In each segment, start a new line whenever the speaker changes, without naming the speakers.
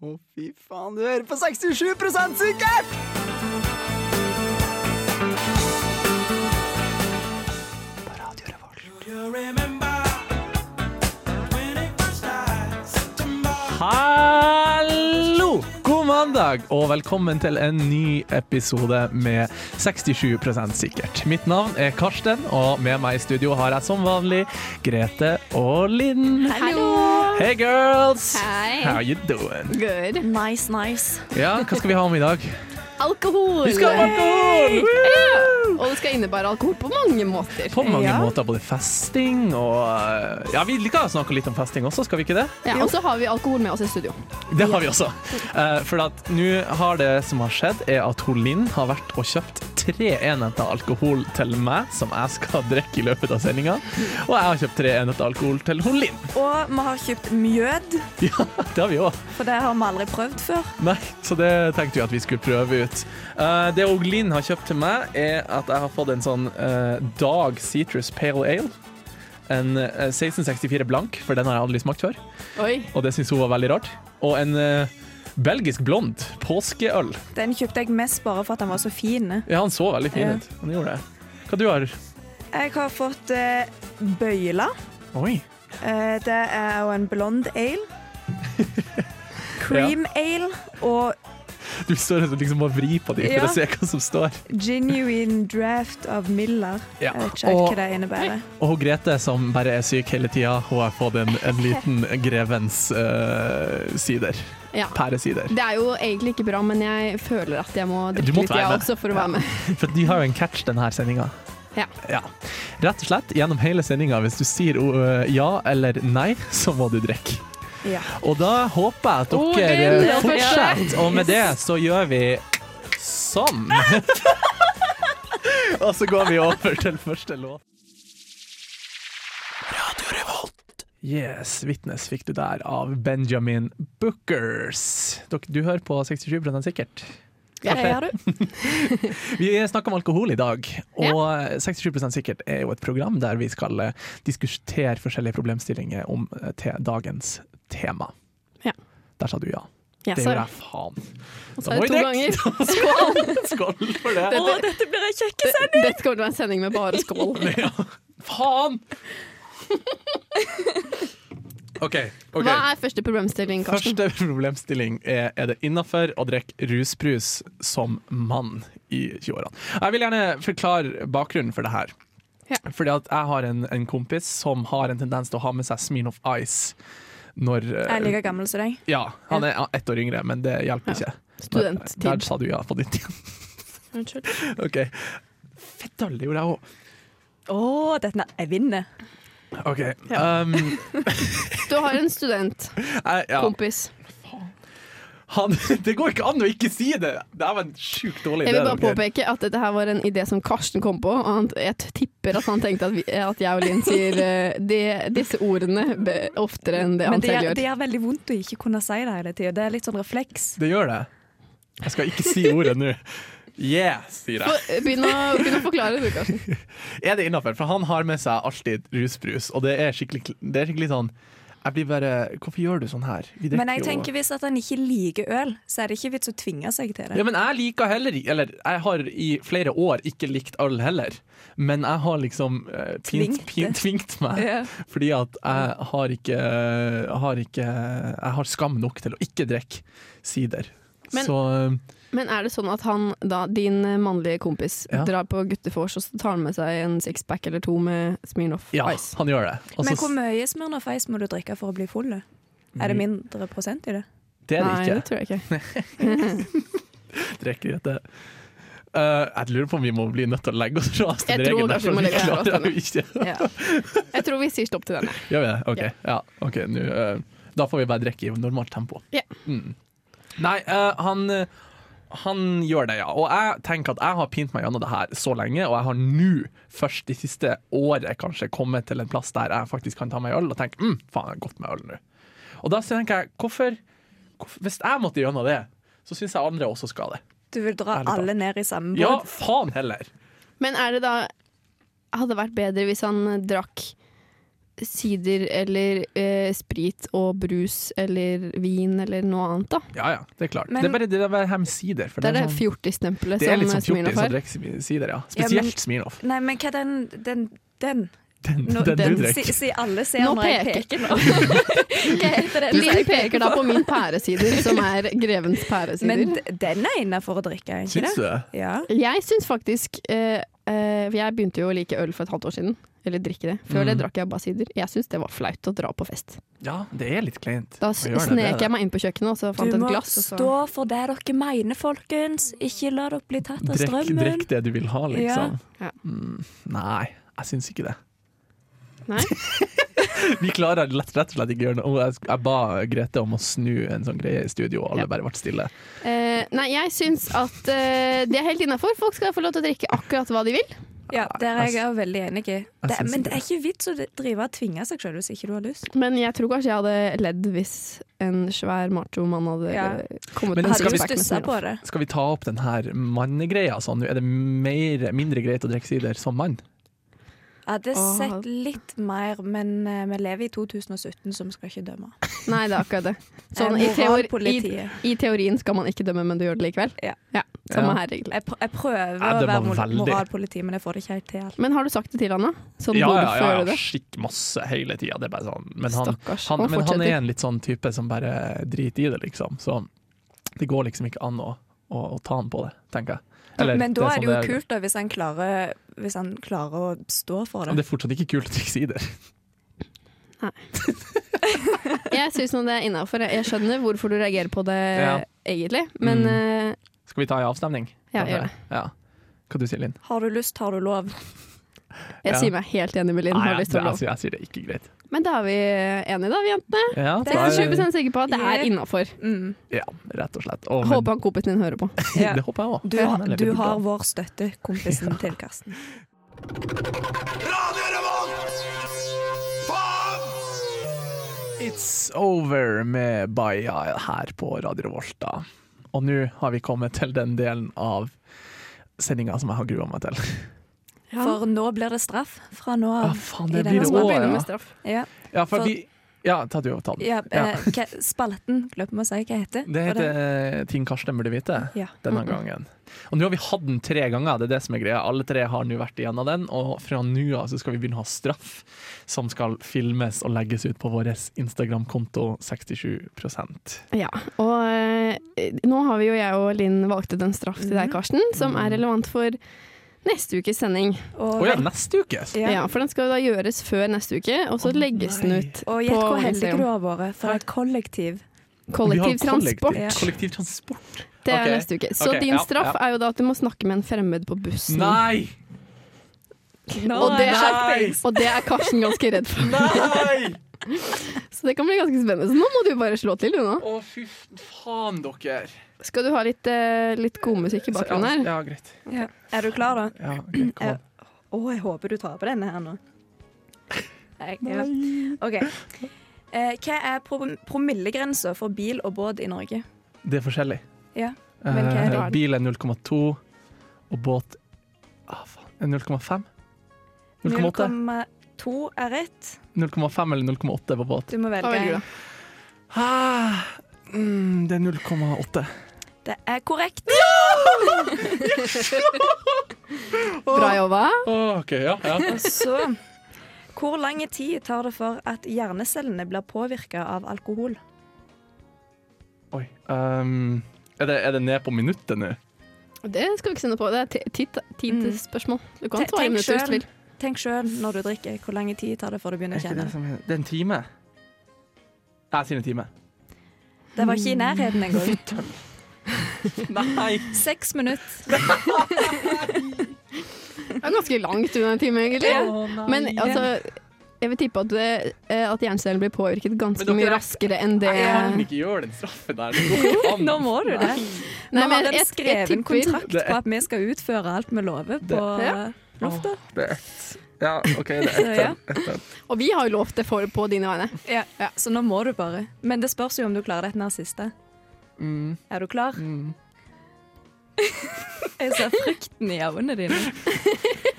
Å, fy faen, du hører på 67 sikkert! På Radio Revolt.
Hallo! God mandag, og velkommen til en ny episode med 67 sikkert. Mitt navn er Karsten, og med meg i studio har jeg som vanlig Grete og Linn.
Hallo!
Hey girls!
Hei.
How you doing?
Good.
Nice, nice.
Ja, hva skal vi ha om i dag?
Alkohol!
Vi skal ha alkohol! Woo!
Og det skal innebære alkohol på mange måter.
På mange
Ja.
måter. Både festing og eh, Ja, vi liker å snakke litt om festing også, skal vi ikke det?
Ja, og så har vi alkohol med oss i studio.
Det har vi også. Eh, for at nå har det som har skjedd, er at hun Linn har vært og kjøpt tre enheter alkohol til meg, som jeg skal drikke i løpet av sendinga. Og jeg har kjøpt tre enheter alkohol til hun Linn.
Og vi har kjøpt mjød,
Ja, det har vi òg.
for det har vi aldri prøvd før.
Nei, så det tenkte vi at vi skulle prøve ut. Eh, det hun Linn har kjøpt til meg, er at jeg har fått en sånn eh, Dag Citrus Pale Ale. En eh, 1664 blank, for den har jeg aldri smakt før.
Oi.
Og det syns hun var veldig rart. Og en eh, belgisk blond påskeøl.
Den kjøpte jeg mest bare for at den var så fin.
Ja, han så veldig fin
Ja.
ut. Han gjorde det. Hva du har?
Jeg har fått eh, bøyla.
Oi.
Eh, det er jo en blond ale. Cream ale og
Du står og liksom og vrir på dem
Ja.
for å se hva som står.
genuine draft av Miller.
Ja,
Jeg vet ikke helt
og-
hva det innebærer.
Og hun Grete, som bare er syk hele tida, hun har fått en, en liten grevens eh, sider.
Ja.
Pæresider.
Det er jo egentlig ikke bra, men jeg føler at jeg må
Du
drikke
måtte
litt
være
jeg
med.
også for å være med.
For de har jo en catch denne sendinga.
Ja.
Rett og slett gjennom hele sendinga, hvis du sier eh, ja eller nei, så må du drikke.
Ja.
Og da håper jeg at
Odin,
dere
det var
fortsetter, og med det så gjør vi sånn. og så går vi over til første låt. Radio Revolt. Yes, Witness fikk du der av Benjamin Bookers. Dere, du hører på 67 sikkert.
Ja,
Det har du.
Vi snakker om alkohol i dag, og 67 sikkert er jo et program der vi skal eh, diskutere forskjellige problemstillinger om eh, te dagens tema.
Ja.
Der sa du ja.
Ja,
Det
sorry.
gjorde jeg faen.
Og
Da
så er
må
det
vi
to
drikke.
ganger.
Skål for det.
Dette-
Å, dette blir en kjekk
Det- Dette kommer til å være en sending med bare skål.
Ja. Faen! OK. ok.
Hva er første problemstilling, Karsten?
Første problemstilling er er det innafor å drikke rusbrus som mann i 20-årene. Jeg vil gjerne forklare bakgrunnen for det her.
Ja.
Fordi at jeg har en, en kompis som har en tendens til å ha med seg Smirnoff Ice når
Jeg er
eh,
like gammel som deg.
Ja, han er ett år yngre, men det hjelper ikke.
Studenttid.
Der sa du ja på ditt igjen.
Unnskyld.
OK. Fettal, det gjorde jeg òg.
Å, dette er Jeg vinner.
OK. Um,
Du har en student,
jeg, ja.
kompis.
Han, det går ikke an å ikke si det! Det her var en sjukt dårlig
Jeg
idé.
vil bare
dere.
påpeke at dette her var en idé som Karsten kom på, og han, jeg tipper at han tenkte at, vi, at jeg og Linn sier eh, de, disse ordene be- oftere enn det
Men
han
det
selv
gjør,
gjør.
det gjør veldig vondt å ikke kunne si det hele tida. Det er litt sånn refleks.
Det gjør det. Jeg skal ikke si ordet nå. Yeah, sier jeg.
Få- Begynn å, begynn å forklare du, Karsten.
Er det innafor? For han har med seg alltid rusbrus, og det er skikkelig, det er skikkelig sånn jeg blir bare Hvorfor gjør du sånn her? Vi drikker
Men jeg
jo-
tenker hvis at han ikke liker øl, så er det ikke vits å tvinge seg til
Ja,
det.
men jeg liker heller i- Eller jeg har i flere år ikke likt øl heller. Men jeg har liksom eh, pint,
Tvingt
pint,
det.
tvingt meg.
Ja.
Fordi at jeg har ikke, har ikke Jeg har skam nok til å ikke drikke sider.
Men-
Så eh,
Men er det sånn at han da, din eh, mannlige kompis,
Ja.
drar på guttefors og så tar han med seg en sixpack eller to med Smirnoff
ja,
Ice?
han gjør det. Altså, Og
Men
så-
hvor mye Smirnoff Ice må du drikke for å bli full? da?
Mm.
Er det mindre prosent i det?
det er det
Nei,
ikke.
det tror jeg ikke.
drikker dette. Eh, jeg lurer på om vi må bli nødt til å legge oss fra oss til
Jeg tror
regelen.
kanskje vi må
for
legge oss fra oss
klarer jo ikke.
Jeg tror vi sier stopp til den.
Gjør vi det? Ok. Ja. ok, nå, eh, da får vi bare drikke i normalt tempo.
Ja.
Mm. Nei, eh, han, eh, han gjør det, ja. Og jeg tenker at jeg har pint meg gjennom det her så lenge, og jeg har nå, først de siste året, kanskje kommet til en plass der jeg faktisk kan ta meg øl og tenke mm, faen, jeg har godt med øl nå. Og da tenker jeg, hvorfor, hvorfor Hvis jeg måtte gjennom det, så syns jeg andre også skal det.
Du vil dra
Ærlig talt.
alle ned i samme båt?
Ja, faen heller!
Men er det da Hadde det vært bedre hvis han eh, drakk sider eller eh, sprit og brus eller vin eller noe annet, da.
Ja, ja, det er klart.
Men-
det er bare det der med sider. For det,
Det er det
er sånn,
fjortistempelet
det er litt
som
sånn fjortis
Smirnoff
som
har.
drikker si- sider, ja.
Ja,
Spesielt
men-
Smirnoff.
Nei, men hva den Den, den,
Den,
nå-
den,
den
du
si,
drikker.
si alle ser
Nå
når jeg
peker-
peker nå. hva heter den? som
Linn
jeg
peker da på min pæresider, som er grevens pæresider.
Men d- den er inne for å drikke, er den ikke
Syns du
det?
det?
Ja.
Jeg syns faktisk eh, eh, For jeg begynte jo å like øl for et halvt år siden. Eller drikke det. Før det
Mm.
drakk jeg bare sider. Jeg syns det var flaut å dra på fest.
Ja, det er litt kleint. å
Da s-
gjøre det, det er
snek
det.
jeg meg inn på kjøkkenet og så fant
Du
et
må
glass. Og så.
stå for det dere mener, folkens. Ikke la dere bli tatt av
Drikk,
strømmen.
drikk det du vil ha, liksom.
Ja.
Mm, nei, jeg syns ikke det.
Nei?
Vi klarer lett, rett og slett ikke å gjøre noe. Og Jeg, sk- jeg ba Grete om å snu en sånn greie i studio, og alle
Ja.
bare ble stille.
Eh, nei, jeg syns at eh, det er helt innafor. Folk skal få lov til å drikke akkurat hva de vil.
Ja,
Ah,
der er
altså,
jeg også veldig enig i. Det,
syns
men
ikke
det er ikke vits å drive og tvinge seg selv hvis ikke du har lyst.
Men jeg tror kanskje jeg hadde ledd hvis en svær macho mann hadde
Ja.
eh, kommet
Men
med
Hadde
skal
sixpack
Altså, du
vi-
med
stussa på
Smirnoff.
det?
Skal vi ta opp den her mannegreia sånn? Nå er det mer, mindre greit å drikke sider som mann?
Jeg hadde
Åh.
sett litt mer, men eh, vi lever i 2017, så vi skal ikke dømme.
Nei, det er akkurat det. Sånn, i,
Eh,
teor i,
moralpolitiet.
I teorien skal man ikke dømme, men du gjør det likevel.
Ja.
Ja.
Samme her regler.
Jeg, pr jeg prøver
Ja,
å
det var
være mor-
veldig.
moralpoliti, men jeg får det ikke helt til. alt.
Men har du sagt det til han da? Sånn
ja, ja,
burde
ja,
føre
ja.
det?
Skikk masse hele tida. Det er bare sånn. Men han,
Stakkars.
han,
han
men han
fortsetter.
er en litt sånn type som bare driter i det, liksom. Så det går liksom ikke an å, å, å ta han på det, tenker jeg. Eller,
men da er
sånn
det jo kult da, hvis han, klarer, hvis han klarer å stå for
Men
det.
det er fortsatt ikke kult å drikke sider.
Jeg syns nå det er innafor. Jeg skjønner hvorfor du reagerer på det,
Ja. Mm.
egentlig. Men eh,
Skal vi ta en avstemning?
Ja,
Kanskje?
gjør det.
Ja. Hva du sier Linn?
Har du lyst, har du lov.
jeg
Ja.
sier meg helt enig med Linn.
Nei,
har
jeg,
lyst til å
jeg,
lov.
sier- jeg sier det er ikke greit.
Men da er vi enige, da, vi jentene.
Ja,
Det
da
er
er-
60 sikre på at det er
Yeah.
innafor.
Mm.
ja, rett og slett. Å, men-
Håper han kompisen din hører på.
Ja.
Det håper jeg òg.
Du, har- du har vår støtte, kompisen til Karsten.
It's over med Baia her på Radio Revolta. Og nå har vi kommet til den delen av sendinga som jeg har grua meg til.
For nå blir det straff fra nå
Ja,
av.
faen,
i
det
denne
blir
smaken.
rå,
Begynner
ja.
med Ja.
Ja, for
for-
vi Ja, ta du og ta den.
Ja, eh, hva- spalten, glem å si hva heter.
Det
Og
heter eh, Ting Karsten burde vite
Ja.
denne
Mm, mm.
gangen. Og nå har vi hatt den tre ganger, det er det som er greia. Alle tre har nå vært igjennom den, og fra nå av så skal vi begynne å ha straff som skal filmes og legges ut på vår Instagram-konto 67
Ja, og eh, nå har vi jo jeg og Linn valgt ut en straff til deg, Karsten, som er relevant for neste ukes sending.
og
Å ja,
vet-
neste uke! altså.
Ja.
ja.
For den skal jo da gjøres før neste uke, og så
Å,
legges den
nei.
ut
Og gjett hvor heldig
Instagram.
du har vært for et kollektiv.
Vi har
Kollektiv transport.
Kollektiv,
Ja.
kollektivtransport.
Det er
Ok.
neste uke. Så
Ok,
din
ja,
straff
ja.
er jo da at du må snakke med en fremmed på bussen.
Nei!
Og det er-
Nei!
Og det er Karsten ganske redd for.
Nei!
Så det kan bli ganske spennende. Så nå må du bare slå til, du nå.
Å, fy f- faen, dere.
Skal du ha litt, eh, litt god musikk i bakgrunnen
ja,
her?
ja, greit.
Ja. Er du klar, da?
Ja, ok, kom an.
Å, jeg håper du tar på denne her nå. Nei. ja. OK. Eh, hva er pro promillegrensa for bil og båt i Norge?
Det er forskjellig.
Ja. Men hva er
Eh,
det?
bil er 0,2, og båt ah, faen, er 0,5? 0,8?
0,2 er rett.
0,5 eller 0,8 på båt?
Du må
Hva velger du,
velge.
da?
Ah, mm, det er 0,8.
Det er korrekt.
Bra jobba.
Å, OK, ja. ja.
Og så Hvor lang tid tar det for at hjernecellene blir påvirka av alkohol?
Oi. ehm, er, det, er det ned på minuttet nå?
Det skal vi ikke se noe på. Det er ti- tid- tidsspørsmål. Du kan
Mm. Te-
svare
tenk
minutter hvis du
selv.
vil.
Tenk sjøl når du drikker. Hvor lang tid tar det før du begynner å kjenne det?
som Det er en time. Jeg sier en time.
Det var ikke i nærheten engang.
Nei!
Seks minutter.
Det er ganske langt unna en time, egentlig. Men altså, jeg vil tippe at, det- eh, at hjernecellen blir påvirket ganske
Men dere
mye
er-
raskere enn det
Jeg kan ikke gjøre den straffen der. Det går ikke an.
Nå må du det.
Nei,
Nå
men
har en
jeg- jeg
skreven
tipper-
kontrakt
Det er-
på at vi skal utføre alt vi lover på
Ja.
lufta.
Det er ett. Ja, OK, det
Så, ja.
Og vi har jo lovt det for på dine vegne.
Ja. Så nå må du bare. Men det spørs jo om du klarer dette her siste.
Mm,
Er du klar?
mm.
Jeg ser frykten i øynene dine.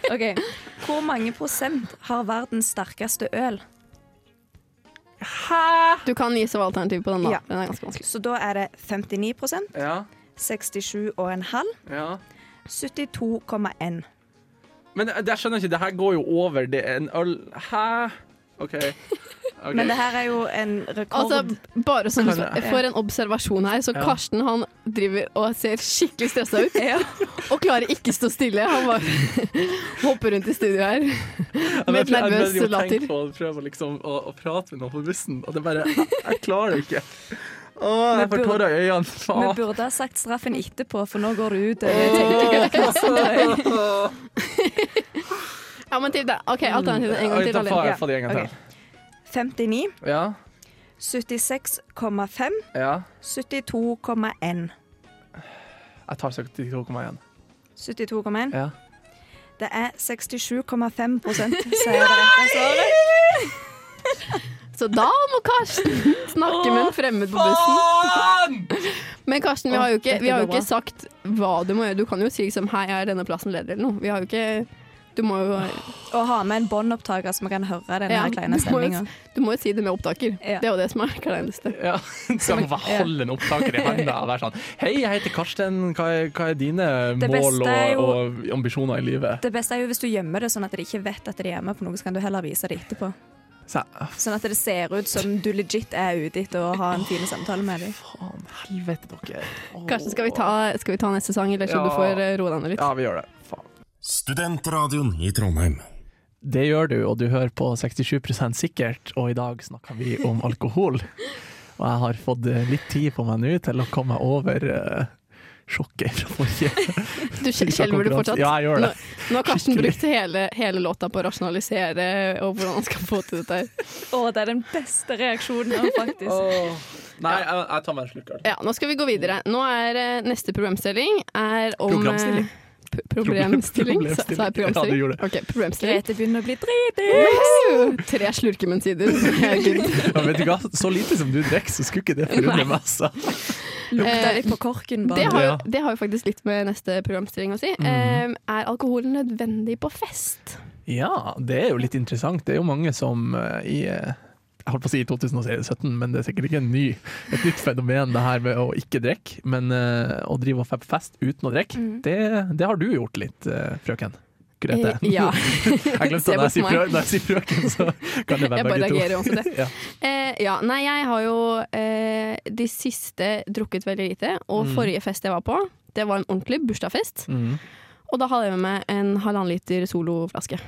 OK. Hvor mange prosent har verdens sterkeste øl?
Hæ?
Du kan gi svaralternativ på den, da.
Ja.
Den er ganske vanskelig.
Så da er det 59
Ja,
67,5
ja.
72,1.
Men det, jeg skjønner ikke, det her går jo over det er en øl Hæ? OK. Ok.
Men det her er jo en rekord.
Altså, bare sånn
Kan jeg-
for en observasjon her, så
Ja.
Karsten han driver og ser skikkelig stressa ut. Og klarer ikke stå stille. Han bare hopper rundt i studio her med et
Jeg bare-
nervøs
jeg bare
latter.
tenker på å prøve å liksom, å, å prate med noen på bussen, og det bare Jeg, jeg klarer det ikke. Åh, jeg får
burde-
tårer i
Vi
øynene. Faen.
burde ha sagt straffen etterpå, for nå går det ut.
Ja, men til det. OK, alternativet en gang
Oi,
til.
Da får
Alin.
jeg få det en gang
Ja,
til.
59,
Ja,
76,5,
ja.
72,1.
Jeg tar 72,1.
72,1.
Ja.
Det er 67,5 sier det rette svaret.
Så da må Karsten snakke med en fremmed på bussen.
Faen!
Men Karsten, vi har jo ikke,
Dette
vi har jo
går
ikke sagt hva du må gjøre. Du kan jo si liksom 'hei, jeg er denne plassen leder', eller noe. Vi har jo ikke Du må jo,
Og ha med en båndopptaker så vi kan høre denne
Ja,
her kleine
du må jo
stemninga.
du må jo si det med opptaker.
Ja.
Det er jo det som er kleineste.
Ja, Skal man bare holde en opptaker i handa og være sånn Hei, jeg heter Karsten. Hva er, hva er dine
Det
mål
beste
og,
er jo-
og ambisjoner i livet?
Det beste er jo hvis du gjemmer det sånn at de ikke vet at de er hjemme på noe, så kan du heller vise det etterpå.
Så jeg,
Sånn at det ser ut som du legit er ute etter å ha en fin samtale med dem.
Faen, helvete, dere. Åh.
Karsten, skal vi ta, skal vi ta neste sang, eller så
Ja.
du får eh, roe deg ned litt?
Ja, vi gjør det. Faen.
Studentradioen i Trondheim.
Det gjør du, og du hører på 67 sikkert, og i dag snakker vi om alkohol. Og jeg har fått eh, litt tid på meg nå til å komme meg over eh, sjokket fra forrige
Du skjel- skjelver du fortsatt?
Ja, jeg gjør det.
Nå, nå har Karsten
Skikkelig.
brukt hele, hele låta på å rasjonalisere eh, og hvordan han skal få til dette. her.
det er den beste reaksjonen her, faktisk.
Nei, jeg, jeg tar meg en slurk øl.
Ja, nå skal vi gå videre. Nå er eh, neste problemstilling er om eh,
Programstilling.
p- Problemstilling?
Problem-
Sa sa jeg
Ja, du
problemstilling?
gjorde det.
Ok, problemstilling.
Grete begynner å bli dritig.
Woo! Tre slurkemensider.
Ja, vet du hva? Så lite som du drikker, så skulle ikke det forundre meg. altså.
Lukter
Eh,
litt på korken,
Det
bare.
har, jo,
Ja. Mhm.
det har jo faktisk litt med neste programstilling å si. Eh, er alkohol nødvendig på fest?
Ja, det er jo litt interessant. Det er jo mange som eh, i eh, jeg holdt på å si i 2017, men det er sikkert ikke en ny, et nytt fenomen, det her med å ikke drikke. Men eh, å drive og fe- på fest uten å drikke,
Mm.
det, det har du gjort litt, eh, frøken. Grete.
Eh, ja.
Jeg
Se
glemte når jeg,
på
sier
meg.
frø, når jeg sier frøken, så kan det
Jeg
være
bare
begge
reagerer
to.
jo også det.
Ja.
Eh, ja, nei, jeg har jo eh, de siste drukket veldig lite, og
Mm.
forrige fest jeg var på, det var en ordentlig bursdagsfest.
Mm.
Og da hadde jeg med meg en halvannen liter soloflaske.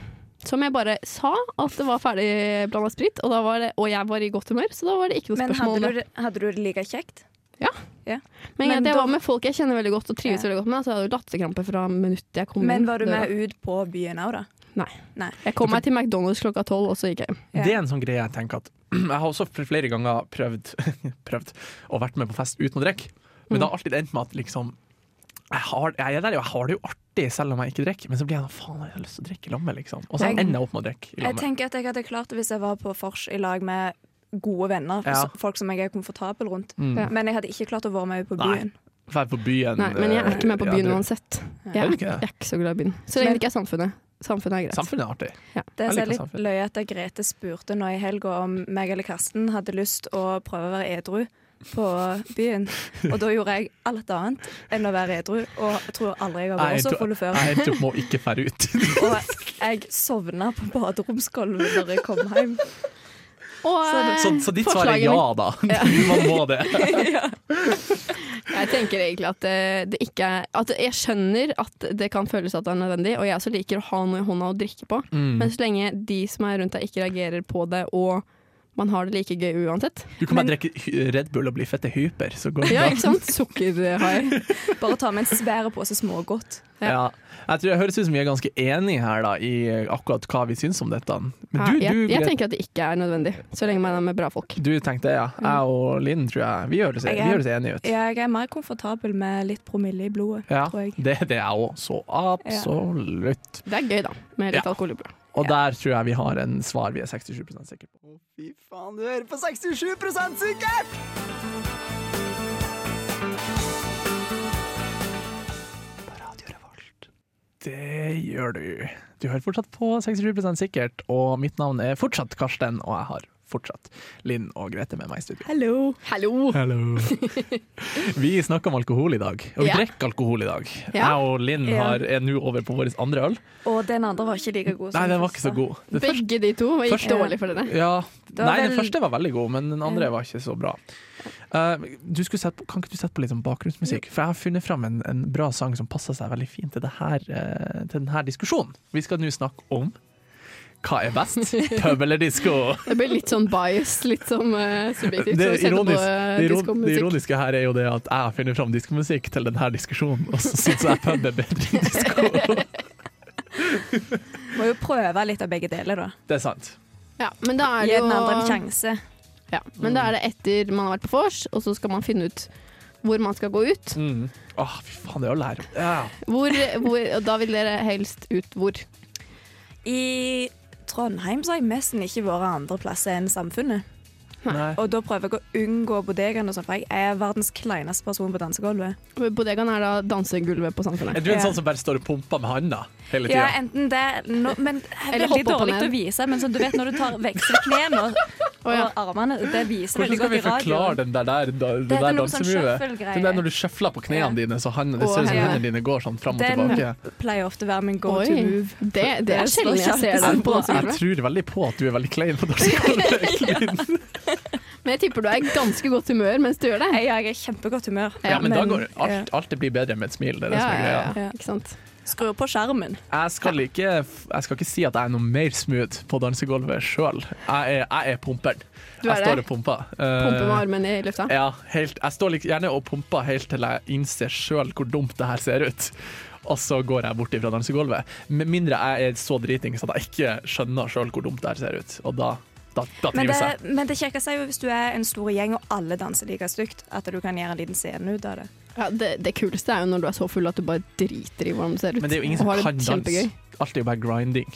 Som jeg bare sa at det var ferdig blanda sprit, og, da var det, og jeg var i godt humør, så da var det ikke noe
Men
spørsmål
hadde
om
du,
det.
det- hadde du det like kjekt?
Men,
men
det
da-
var med folk jeg kjenner veldig godt og trives
Ja.
veldig godt med, så jeg hadde jo latterkrampe fra minuttet jeg kom
Men
inn
var du
døra.
med ut på byen òg, da?
Jeg kom meg til McDonald's klokka tolv, og så gikk jeg hjem.
Ja.
Det er en sånn greie jeg tenker at Jeg har også flere ganger prøvd, prøvd å vært med på fest uten å drikke. Men
Mm.
det har alltid endt med at liksom jeg, har, jeg er der jo, jeg har det jo artig selv om jeg ikke drikker, men så blir jeg sånn faen, jeg har lyst til å drikke i lag med, liksom. Og så
Jeg-
ender jeg opp med å drikke i
Jeg
lag med.
tenker at jeg hadde klart det hvis jeg var på vors i lag med gode venner.
Ja.
s- Folk som jeg er komfortabel rundt.
Mm.
Ja.
Men jeg hadde ikke klart å være med ut på
Nei.
byen.
Være på byen
Nei, men jeg er ikke med på
eh,
byen
ja, du-
uansett. Jeg
Er
er,
du
ikke,
ikke det?
jeg er ikke så glad i byen. Så lenge
Men-
det ikke er samfunnet. Samfunnet er greit.
Samfunnet er artig.
Det
Jeg
som er
liker
litt
samfunn.
løye at Grete spurte nå i helga om meg eller Karsten hadde lyst å prøve å være edru på byen. Og da gjorde jeg alt annet enn å være edru, og jeg tror aldri jeg
Jeg
har vært så
endte-
full før.
Jeg endte opp med å ikke fære ut.
Og jeg sovna på baderomsgulvet når jeg kom hjem.
Og,
Så, Sånn, så ditt svar er
forslaget
ja,
mitt-
da. Man må det.
Jeg tenker egentlig at eh, det ikke er At jeg skjønner at det kan føles at det er nødvendig, og jeg også liker å ha noe i hånda å drikke på.
Mm.
Men så lenge de som er rundt deg ikke reagerer på det, og man har det like gøy uansett.
Du kan bare drikke hy- Red Bull og bli fette hyper, så går det
Ja,
bra.
ikke sant? Sukkerhai.
Bare ta med en svær pose smågodt.
Ja. Jeg tror jeg høres ut som vi er ganske enige her da, i akkurat hva vi syns om dette. Men
Ja,
du,
jeg,
du,
jeg
Grete,
tenker at det ikke er nødvendig, så lenge man er med bra folk.
du tenkte ja. Jeg og Linn, tror jeg. Vi høres,
Jeg
vi
er-
høres enige ut.
Jeg er mer komfortabel med litt promille i blodet,
Ja,
tror jeg.
det, det er jeg òg. Så absolutt.
Det er gøy, da, med litt
Ja.
alkohol i blodet.
Og der tror jeg vi har en svar vi er 67 sikre på.
Fy faen, du hører på 67 sikkert!
Det gjør du. Du hører fortsatt på 67 sikkert, og mitt navn er fortsatt Karsten, og jeg har fortsatt Linn og Grete med meg i studio.
Hallo. Hallo.
Vi snakker om alkohol i dag, og vi
Ja.
drikker alkohol i dag.
Ja.
Jeg og Linn
Ja.
har, er nå over på vår andre øl.
Og den andre var ikke like god. som
Nei,
den
den var ikke så
første.
god. Det første,
Begge de to gikk
Først-
dårlig for dere.
ja.
Det var
Nei, den
vel-
første var veldig god, men den andre var ikke så bra. Eh, du skulle sette på, kan ikke du sette på litt sånn bakgrunnsmusikk? For jeg har funnet fram en, en bra sang som passer seg veldig fint til, det her, eh, til denne diskusjonen. Vi skal nå snakke om hva er best, pub eller disko?
Det ble litt sånn bias, litt sånn eh,
Det,
subjektivt. så
er
vi setter på,
ironisk,
eh,
det, iron, det
diskomusikk.
ironiske her er jo det at jeg finner fram diskomusikk til denne diskusjonen, og så syns jeg pub er bedre enn disko.
Må jo prøve litt av begge deler, da.
Det er sant.
Ja, men da er
Gi
det
den andre en
jo
sjanse.
ja, Men da er det etter man har vært på vors, og så skal man finne ut hvor man skal gå ut.
Mm. Åh, fy faen, det er jo lære. Ja.
Hvor, hvor, og da vil dere helst ut hvor.
I Trondheim så har jeg nesten ikke vært andre plasser enn Samfunnet.
Nei.
Og da prøver jeg å unngå bodegaen, og sånt, for jeg er verdens kleineste person på dansegulvet.
Bodegaen er da dansegulvet på Samfunnet.
Er du en
Ja.
sånn som bare står og pumper med handa hele tida?
Ja, enten det nå- Men det er
Eller
veldig
hoppe opp og
dårlig
ned.
å vise, men så du vet når du tar veksler knærne og,
Å, ja.
og armene, det viser
Hvordan skal
veldig godt
vi
i radioen.
forklare den der, der, da- det
Det er
der
noe sånn
dansemovet?
shuffle-greie.
Den der når du sjøfler på knærne
Ja.
dine, så han, det
Å,
ser ut som
herre.
hendene dine går sånn fram og
Den
tilbake.
pleier ofte å være min go
Oi,
to move.
det, det er sjelden jeg ser den på
Jeg
dansegulvet.
tror veldig på at du er veldig klein på dansegulvet.
Men jeg tipper du er i ganske godt humør mens du gjør det.
Jeg, jeg er i kjempegodt humør. eh,
ja, men da går
ja.
alt, alt det blir bedre med et smil. Det er det som er greia.
greia.
Ikke sant?
Eh,
Skrur på skjermen.
Jeg skal, ikke, jeg skal ikke si at jeg er noe mer smooth på dansegulvet sjøl. Jeg, er- jeg er pumperen.
Du er
Jeg står
det.
og pumper.
Pumpe med
Eh,
armene i lufta.
Ja, helt, jeg står litt gjerne og pumper helt til jeg innser sjøl hvor dumt det her ser ut. Og så går jeg bort ifra dansegulvet. Med mindre jeg er så dritings at jeg ikke skjønner sjøl hvor dumt det her ser ut. Og da, da, da
Men det,
trives jeg.
men det kjekkeste er jo hvis du er en stor gjeng og alle danser like stygt, at du kan gjøre en liten scene ut av det.
Ja, det, det kuleste er jo når du er så full at du bare driter i hvordan du ser ut.
Men det er jo ingen
og
som
har det
kan danse.
kjempegøy.
Alt er jo bare grinding.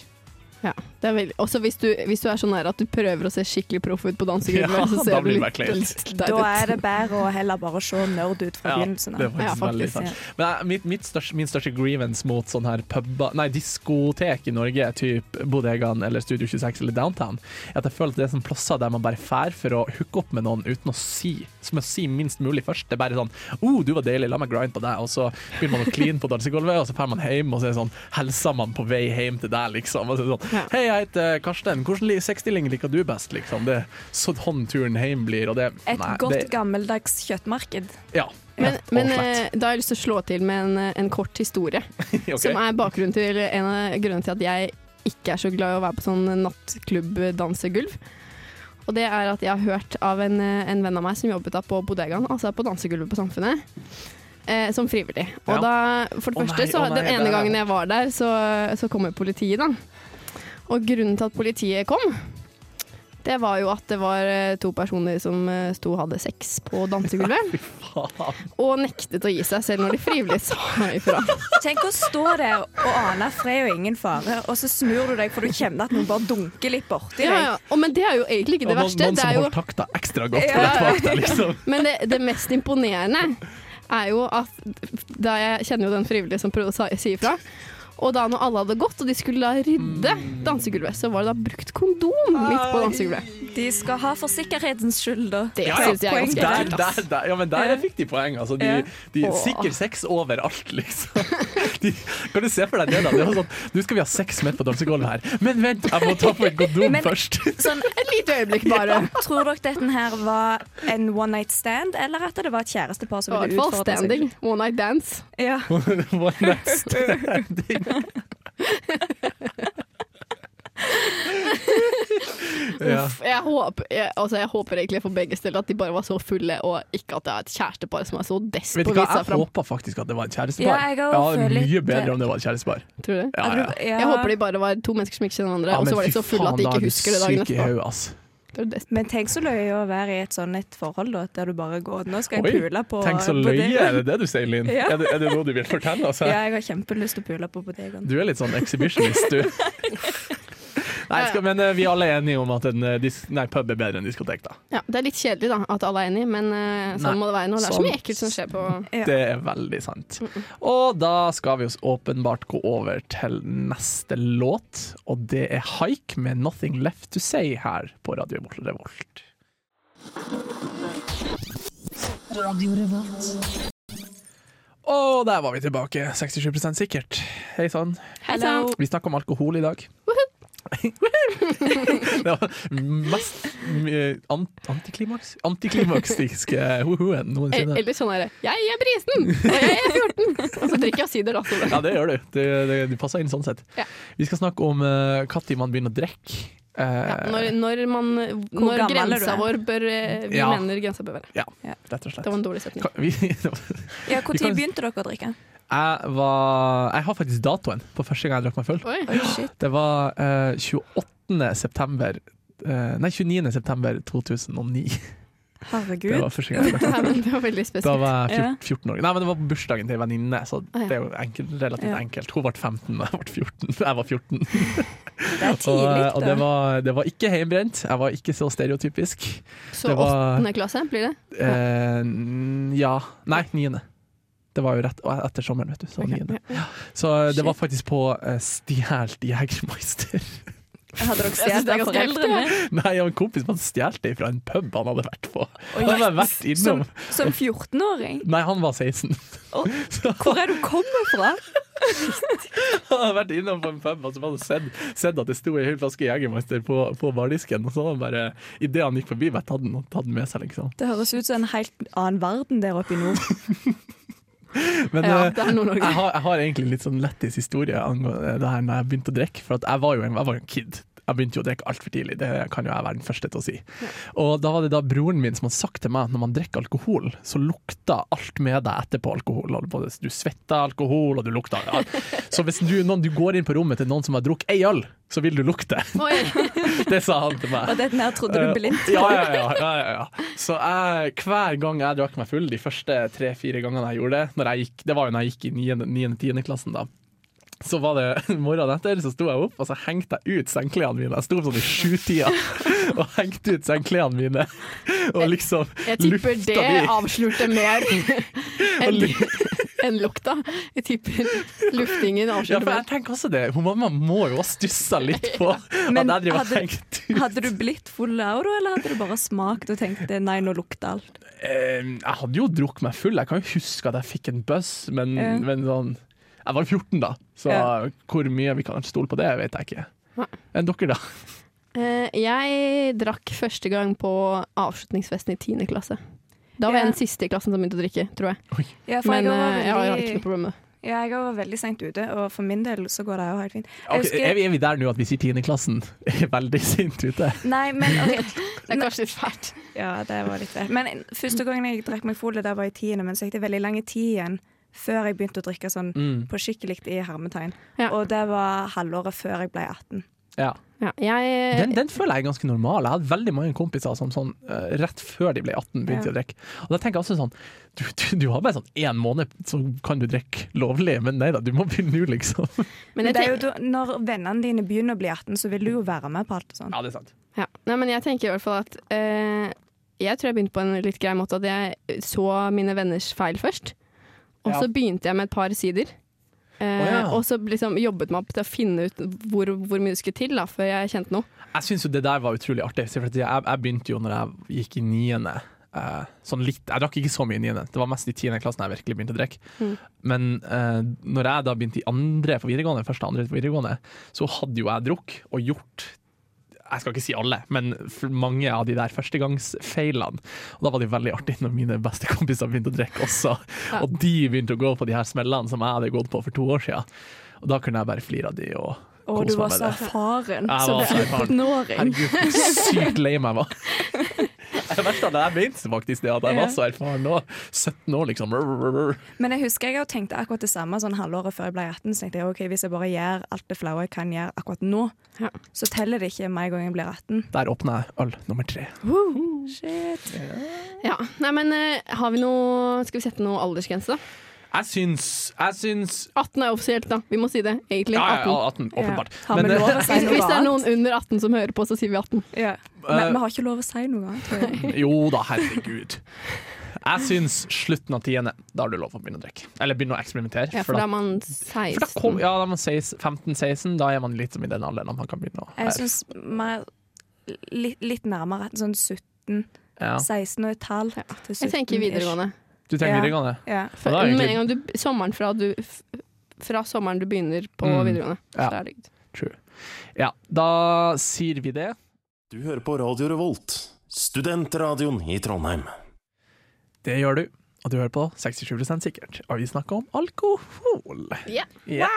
Ja, det er veldig, også hvis du, hvis du er så nær at du prøver å se skikkelig proff ut på dansegulvet,
Ja,
så
da
ser du
blir det bare
litt,
kleint.
litt
Da
deg
er det bedre å heller bare se nerd ut fra
Ja,
begynnelsen
Det er
av.
faktisk
Ja,
veldig
faktisk,
sant. Men jeg, mitt, mitt største, min største grievance mot sånne her pubber, nei, diskotek i Norge, typ Bodegaen eller Studio 26 eller Downtown, er at jeg føler at det er sånne plasser der man bare fær for å hooke opp med noen uten å si, som å si minst mulig først. Det er bare sånn, oh, du var deilig, la meg grind på deg, og så begynner man å kline på dansegulvet, og så fær man hjem, og så er det sånn, helser man på vei hjem til deg, liksom. Og så er det sånn,
Ja.
hei, jeg heter Karsten, hvordan li- sexstilling liker du best, liksom? Det er sånn turen hjem blir, og det...
Et
nei,
godt,
det,
gammeldags kjøttmarked.
ja.
Men,
rett og
men
slett.
eh, da har jeg lyst til å slå til med en, eh, en kort historie,
Ok.
eh, som er bakgrunnen til en av grunnene til at jeg ikke er så glad i å være på sånn nattklubb-dansegulv. Og det er at jeg har hørt av en, eh, en venn av meg som jobbet da på bodegaen, altså på dansegulvet på Samfunnet, eh, som frivillig. Og
Ja.
da, for det
Å
første,
nei,
så
å nei,
den ene
det er-
gangen jeg var der, så, så kom jo politiet, da. Og grunnen til at politiet kom, det var jo at det var eh, to personer som eh, sto og hadde sex på dansegulvet.
Faen.
og nektet å gi seg selv når de frivillig sa ifra.
Tenk å stå der og ane fred og ingen fare, og så snur du deg for du kjenner at noen bare dunker litt borti
Ja,
deg.
ja. Og, men det er jo egentlig ikke det
Og noen-
verste.
Noen
Det
som
er jo,
holdt takta ekstra godt
Ja.
rett bak deg, liksom.
men det, det mest imponerende er jo at da jeg kjenner jo den frivillige som prøvde å sa- si ifra. Og da når alle hadde gått og de skulle da rydde
Mm.
dansegulvet, så var det da brukt kondom midt på dansegulvet.
De skal ha for sikkerhetens skyld, da.
Det
Ja, ja.
synes jeg er ganske
Der,
kult.
der,
ass.
der, ja, men der fikk de poeng. Altså, de, de
Åh.
Sikker sex overalt, liksom. De, kan du se for deg det, da? Det var sånn, Nå skal vi ha sex midt på dansegulvet her. Men vent, jeg må ta på et kondom
Men-
først.
Sånn,
Et lite øyeblikk bare.
tror dere dette her var en one night stand, eller at det var et kjærestepar
Det
som
var i
ville
hvert fall
utfordre seg?
standing. One night dance.
Ja.
One night standing. Ja.
Uff, jeg, håper, jeg, altså jeg håper egentlig for begges del at de bare var så fulle, og ikke at det er et kjærestepar som er så desp
Vet
på
du
å
hva,
vise seg
jeg
fram.
håpa faktisk at det var et kjærestepar.
Ja, jeg har også følt
mye
litt-
bedre om det var et kjærestepar.
Tror du det?
Ja, ja.
Ja.
eh, Jeg håper de bare var to mennesker som ikke kjenner hverandre,
Ja,
og
men
så var de
fy
så fulle at
faen,
de
da er
ikke
du
husker det dagen
syk i
etterpå.
hodet, ass.
Det er desp-
Men tenk så løye å være i et sånn et forhold, da, der du bare går Nå skal jeg
Oi,
pule på
Tenk så
på
løye,
deg.
er det det du sier, Linn?
Ja.
Er, det- er det noe du vil fortelle altså? oss? her?
Ja, jeg har kjempelyst til å pule på bodegaen.
Du er litt sånn exhibitionist, du. Nei, jeg skal, men eh, vi er alle enige om at en eh, dis nei, pub er bedre enn diskotek, da.
Ja, det er litt kjedelig da, at alle er enig, men eh, sånn
Nei,
må det være nå. Det er så
sånn-
mye ekkelt som skjer på
Ja.
Det er veldig sant. Og da skal vi oss åpenbart gå over til neste låt, og det er Haik med 'Nothing Left To Say' her på Radio Revolt. Og der var vi tilbake, 67 sikkert. Hei sann.
Hei sann!
Vi snakker om alkohol i dag. det var mest eh, ant antiklimaks antiklimaksiske woohooen
E-
noensinne.
Eller sånn er det. Jeg er brisen, og jeg er 14! Og så drikker jeg sider, da. Så det.
Ja, det gjør du. Du, du, du passer inn sånn sett.
Ja.
Vi skal snakke om eh, hva tid man begynner å drikke. Eh,
Ja, når, når man Når
gammel er du?
grensa vår bør eh, Vi
Ja.
mener grensa bør være.
ja,
Ja.
rett og
Det var
slett.
en dårlig setning.
Kan- Vi, jeg,
Ja, Når
kan-
begynte dere å drikke?
var, jeg har faktisk datoen på første gang jeg drakk meg full.
Oi.
Det var eh, 28. september eh, Nei, 29. september 2009. Det
Herregud.
var første gang jeg drakk
Det, her, men det var veldig
Da
spesielt.
var jeg
Ja.
14, 14 år. Nei, men det var på bursdagen til en venninne, så
Ah, ja.
det er jo enkelt, relativt
Ja.
enkelt. Hun ble 15, og jeg ble 14. Jeg var 14.
Det
Og,
er
eh,
tidlig,
og det, var, det var ikke heimbrent. Jeg var ikke så stereotypisk.
Så
det var-
åttende klasse blir det.
Eh, ja Nei, niende. Det var jo rett og etter sommeren, vet du. Så, var det niende. så eh, det var faktisk på uh, Stjålet Jegermeister.
Hadde dere
Jeg synes
stjålet
det er
av
ganske
foreldrene?
eldre.
Nei, jeg har en kompis som stjal det fra en pub han hadde vært på. Han hadde vært
Som,
innom
som 14-åring?
Nei, han var 16.
Å,
Så
Hvor er du kommet fra?
Han hadde vært innom på en pub og så hadde han sett, sett at det sto en hel flaske Jegermeister på, på bardisken. Og så hadde han bare, idet han gikk forbi, bare tatt den, tatt den med seg, liksom.
Det høres ut som en helt annen verden der oppe i nord.
Men
Ja,
eh,
det er Nord-Norge.
jeg, har, jeg har egentlig litt sånn lættis historie angående det her når jeg begynte å drikke. For at jeg var jo en, jeg var jo en kid. Jeg begynte jo å drikke altfor tidlig, det kan jo jeg være den første til å si. Og da var det da broren min som hadde sagt til meg at når man drikker alkohol, så lukter alt med deg etterpå alkohol. Og Både du svetter alkohol, og du lukter ja. Så hvis du, noen, du går inn på rommet til noen som har drukket ei øl, så vil du lukte.
Oi.
Det sa han til meg.
Og dette her trodde du blindt.
Ja, ja, ja, ja, ja, ja. Så jeg, hver gang jeg drakk meg full, de første tre-fire gangene jeg gjorde det når jeg gikk, Det var jo når jeg gikk i 9.-10. klassen, da. Så var det morgenen etter, så sto jeg opp og så hengte jeg ut sengklærne mine. Jeg sto opp sånn i sjutida og hengte ut sengklærne mine. Og liksom
Jeg tipper
lufta
det avslurte mer enn enn lukta. Jeg tipper luftingen
Ja,
avslørte
for jeg
mer.
tenker også det. Hun mamma må jo ha stussa litt på at jeg
Men
driver og
hadde-
hengte ut.
Hadde du blitt full av det, eller hadde du bare smakt og tenkt eh, nei, nå lukter alt?
Eh, jeg hadde jo drukket meg full. Jeg kan jo huske at jeg fikk en buzz, men,
Ja.
men sånn Jeg var 14 da, så
Ja.
hvor mye vi kan stole på det, vet jeg ikke.
Nei.
Enn dere, da?
Eh, Jeg drakk første gang på avslutningsfesten i tiende klasse. Da var jeg
Ja.
den siste i klassen som begynte å drikke, tror jeg.
Ja, for
Men
jeg,
eh,
var
jeg har
veldig,
ikke noe problem med det.
ja, jeg var veldig sent ute, og for min del så går det jo helt fint. Jeg
Ok,
husker-
er, vi, er vi der nå at vi sier tiendeklassen er veldig sint ute?
Nei, men ok.
Det er kanskje litt fælt.
Ja, det var litt det. Men første gangen jeg drakk meg full, det var i tiende, men så gikk det veldig lang tid igjen før jeg begynte å drikke sånn
Mm.
på skikkelig i hermetegn.
Ja.
Og det var halvåret før jeg ble 18.
Ja.
Ja, jeg,
Den, den føler jeg er ganske normal. Jeg hadde veldig mange kompiser som sånn, eh, rett før de ble 18 begynte
Ja.
å drikke. Og da tenker jeg også sånn Du, du, du har bare sånn én måned så kan du drikke lovlig, men nei da, du må begynne nå, liksom.
men
Men
jeg
det er jo
tenk-
da, når vennene dine begynner å bli 18, så vil du jo være med på alt og sånn.
Ja, det er sant.
Ja. Nei, men jeg tenker i hvert fall at eh, Jeg tror jeg begynte på en litt grei måte at jeg så mine venners feil først. Og
Ja.
så begynte jeg med et par sider. Eh,
Å, ja.
Og så liksom jobbet meg opp til å finne ut hvor, hvor mye det skulle til da, før jeg kjente noe.
Jeg syns jo det der var utrolig artig. for at Jeg, jeg begynte jo når jeg gikk i niende. eh, sånn litt, jeg drakk ikke så mye i niende, det var mest i tiende klassen jeg virkelig begynte å drikke.
Mm.
Men eh, når jeg da begynte i andre på videregående, første og andre på videregående, så hadde jo jeg drukket og gjort jeg skal ikke si alle, men f- mange av de der førstegangsfeilene. Og da var det veldig artig når mine beste kompiser begynte å drikke også, og de begynte å gå på de her smellene som jeg hadde gått på for to år siden. Og da kunne jeg bare flire av de og
Og
kose
du
meg
var
med
så
det.
erfaren
Jeg
som
var så erfaren.
14-åring.
Herregud, hvor sykt lei meg var. Det verste av det jeg mente faktisk det, at jeg var så erfaren nå. 17 år, liksom. Rr, rr, rr.
Men jeg husker jeg jo tenkte akkurat det samme sånn halvåret før jeg ble 18. Så tenkte jeg ok, hvis jeg bare gjør alt det flaue jeg kan gjøre akkurat nå,
Ja.
så teller det ikke meg en gang jeg blir 18.
Der åpna jeg øl nummer tre.
Shit.
Ja. Nei, men eh, har vi noe Skal vi sette noe aldersgrense, da?
Jeg syns, jeg syns
18 er offisielt, da. Vi må si det, egentlig.
ja,
18.
ja, ja, 18, åpenbart.
Har vi lov å si
Hvis, hvis
noe
det er
annet?
noen under 18 som hører på, så sier vi 18.
Ja.
Eh,
Men vi har ikke lov å si noe annet. tror jeg.
Jo da, herregud. Jeg syns slutten av tiende, da har du lov å begynne å drikke. Eller begynne å eksperimentere.
Ja, for da er man 16.
for da kom, ja, da er man 15-16, da er man litt som i den alderen at man kan begynne å
Jeg syns mer litt, litt nærmere sånn 17,
ja.
16 og et halvt til 17.
Jeg tenker videregående.
Du tenker
Ja.
videregående?
Ja.
For,
Ja, det er
med
egentlig-
en gang du, sommeren fra, du, f- fra sommeren du begynner på
Mm.
videregående.
Ja.
Så er det greit.
True. Ja, da sier vi det.
Du hører på Radio Revolt, studentradioen i Trondheim.
Det gjør du. Og du hører på 67 sikkert. Og vi snakker om alkohol.
Ja.
Ja.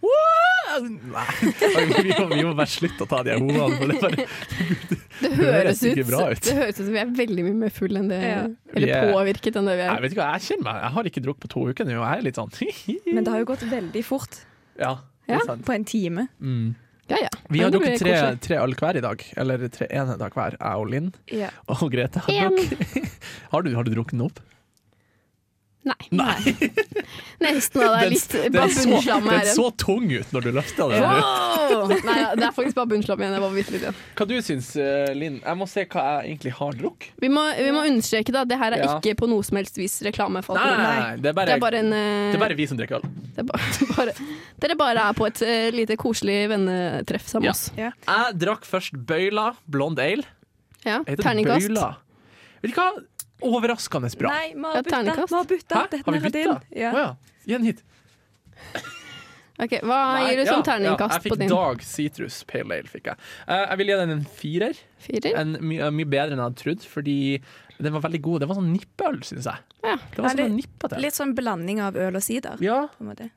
Wow! Nei, vi må, vi må bare slutte å ta de her hodene. For det er bare,
Det
høres
høres ut
ikke bra ut.
Det høres ut som vi er veldig mye mer full enn det
Ja.
Eller
Vi er-
påvirket enn det vi
jeg
er.
vet ikke hva, jeg kjenner meg. Jeg har ikke drukket på to uker nå, og jeg er litt sånn
Men det har jo gått veldig fort.
Ja, det
Ja.
er sant.
På en time.
Mm.
Ja, ja.
Vi har
Men det
drukket
blir
tre,
koselig.
tre øl hver i dag. Eller tre ene dag hver, jeg og Linn.
Ja.
Og Grete har
En.
drukket. Har du, har du drukket den opp?
Nei. Nesten av det er
Den-
litt
den
bare
så,
bunnslam
den
her igjen.
så tung ut når du løfta den.
Wow! Nei, ja, det er faktisk bare bunnslam igjen. Jeg var bitte litt igjen.
Hva du syns du, Linn? Jeg må se hva jeg egentlig har drukket.
Vi må, vi må understreke da, det her er
Ja.
ikke på noe som helst vis reklame for
Nei, nei,
alkohol.
nei, det er bare,
Det er bare en eh,
vi som drikker øl.
det er bare, bare, Dere bare er på et eh, lite koselig vennetreff sammen
Ja.
med oss.
Jeg drakk først Bøyla blond ale.
Ja,
Jeg heter
Terningkast.
Bøyla. Vet du hva? Overraskende bra.
Nei, vi
Ja,
har bytta.
terningkast.
Vi har bytta.
Hæ?
Dette
Har vi
her er din.
bytta?
Ja.
Å ja. Gi den hit.
Ok, Hva gir du
ja,
som terningkast
ja, jeg
på
fikk
din?
Dag Citrus Pale Ale. fikk Jeg Eh, Jeg vil gi den en firer.
Firer?
En mye, mye bedre enn jeg hadde trodd, fordi den var veldig god. Det var sånn nippeøl, syns jeg.
Ja.
Det var
Ja,
sånn
litt-
å nippe til.
Litt sånn blanding av øl og sider.
Ja,
På en måte.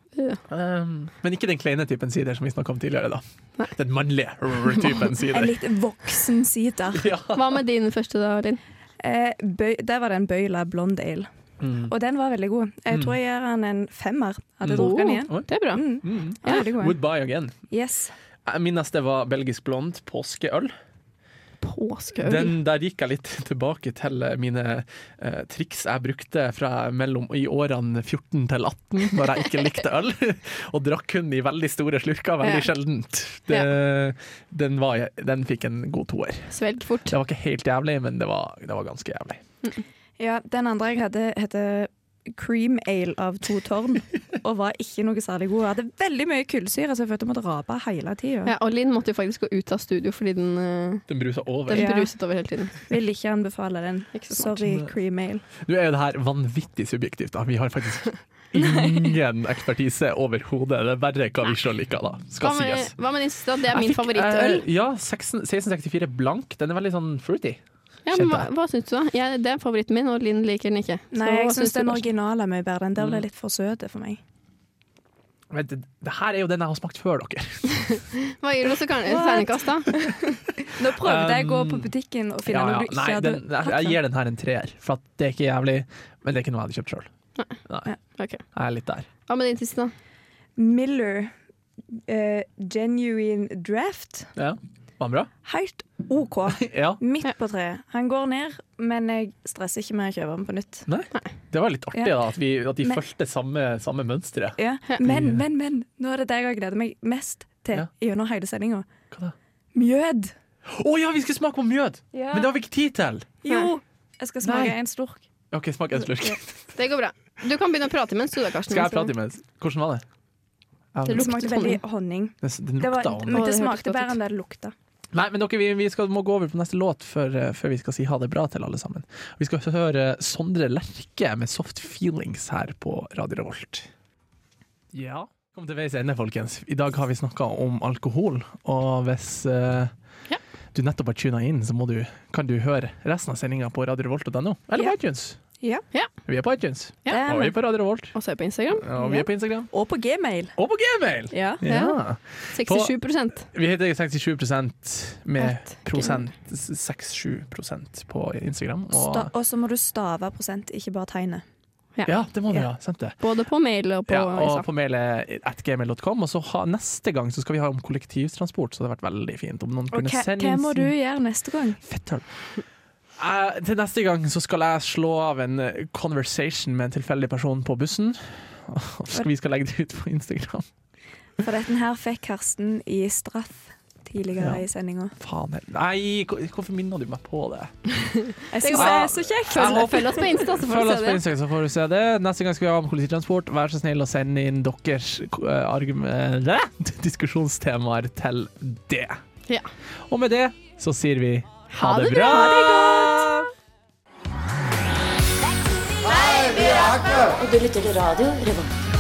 ehm, men ikke den kleine typen sider som vi snakka om tidligere, da.
Nei.
Den mannlige typen
En
sider.
litt voksen sider.
Ja.
Hva med din første, da, Linn?
Eh, bøy, der var det en Bøyla Blond Ale,
Mm.
og den var veldig god. Jeg tror jeg gir den en femmer.
Mm.
Hadde jeg drukket den igjen.
Oi.
Det er bra.
Mm.
Mm.
Ja, veldig god.
Would buy again.
Yes.
Eh, Min neste var belgisk blond påskeøl.
Påskeøl.
Den, der gikk jeg litt tilbake til mine eh, triks jeg brukte fra mellom, i årene 14 til 18, når jeg ikke likte øl, og drakk kun i veldig store slurker, veldig
Ja.
sjeldent. Det, den, var, den fikk en god toer.
Svelg fort.
Det var ikke helt jævlig, men det var, det var ganske jævlig.
Ja, den andre jeg hadde, heter Cream Ale av To Tårn, og var ikke noe særlig god. Jeg hadde veldig mye kullsyre, så jeg følte jeg måtte rape hele tida.
Ja, og Linn måtte jo faktisk gå ut av studio fordi den, eh,
Den brusa over.
den
Ja.
bruset over hele tiden.
Vil ikke anbefale den.
Ikke så smart.
Sorry, Cream Ale.
Nå er jo det her vanvittig subjektivt, da. Vi har faktisk ingen ekspertise overhodet. Det er bare hva vi sjøl liker, da.
Hva
Skal
med,
sies.
hva med din siste? da? Det er
Jeg
min
fikk,
favorittøl.
eh, ja, 16, 1664 blank. Den er veldig sånn fruity.
Ja, men hva,
kjente jeg.
hva syns du, da? Jeg, det er favoritten min, og Linn liker den ikke. Så
Nei,
hva
jeg syns
du
den
da?
originale er mye bedre. Den der ble litt for søt for meg.
Men det, det her er jo den jeg har smakt før dere.
Hva gir du så kan-
What?
terningkast, da?
Nå prøvde jeg å gå
Um,
på butikken og finne noe du ikke
Nei,
hadde
den, jeg,
hatt
jeg
den.
gir den her en treer, for at det er ikke jævlig, men det er ikke noe jeg hadde kjøpt sjøl. Nei,
Ok.
jeg er litt der.
Hva med din siste, da?
Miller eh, Genuine Draft.
Ja. Var den bra?
Helt OK.
Ja.
Midt på treet. Han går ned, men jeg stresser ikke med å kjøpe den på nytt.
Det var litt artig,
Ja.
da, at, vi, at de
Men-
fulgte samme, samme mønsteret.
Ja. Men, men, men. Nå er det det jeg har gledet meg mest til
Ja.
gjennom hele sendinga.
Hva da?
Mjød.
Å ja, vi skulle smake på mjød! Men det har vi ikke tid til!
Jo! Jeg skal smake
Nei.
en slurk.
OK, smak en slurk.
Ja.
Det går bra. Du kan begynne å prate imens, du da, Karsten.
Skal jeg prate imens? Hvordan var det? Ja,
Det
Det
den-
lukter
smakte veldig honning.
den, den
Det var,
lukta om
Å,
men det
det hørtes
smakte
godt ut.
bedre enn det det lukta.
Nei, men dere, vi, vi skal, må gå over på neste låt før, eh, før vi skal si ha det bra til alle sammen. Vi skal høre Sondre Lerche med 'Soft Feelings' her på Radio Revolt. Ja. Kom til veis ende, folkens. I dag har vi snakka om alkohol, og hvis eh,
Ja.
du nettopp har tuna inn, så må du, kan du høre resten av sendinga på radiorevolt.no, eller på iTunes.
Ja.
Ja.
Vi er på iTunes,
Det er
og vi er på Radio Revolt,
Og så er jeg på Instagram.
og vi er på Instagram,
Eh, Og på gmail.
og på Gmail!
Ja.
Ja. 67
Vi heter 67 med
At
prosent 6-7 prosent på Instagram. Og,
Sta- Og så må du stave prosent, ikke bare tegnet.
ja, det må vi ha. Sant det.
Både på mail og på
Ja, og
Instagram.
på mail er at gmail.com. Og så ha, neste gang så skal vi ha om kollektivtransport, så det hadde vært veldig fint om noen
Og
kunne
hva,
sende
hva
inn
må
sin-
du gjøre neste gang?
Fetthøl. Eh, til neste gang så skal jeg slå av en eh, conversation med en tilfeldig person på bussen. Vi skal legge det ut på Instagram.
For dette her fikk Karsten i straff tidligere
Ja.
i sendinga.
Faen heller. Nei, hvor- hvorfor minner du meg på det?
Jeg
Det
syns
går
det
bra.
er så kjekt!
Jeg
Følg,
håper-
følg oss på Insta, så
Følg
får du
oss på
se det.
Instagram, så får du se det. Neste gang skal vi ha om kollektivtransport. Vær så snill å sende inn deres eh, argum- eh, diskusjonstemaer til det.
Ja.
Og med det så sier vi
Ha det bra!
Ha det godt!
Og du lytter til radio Revolt.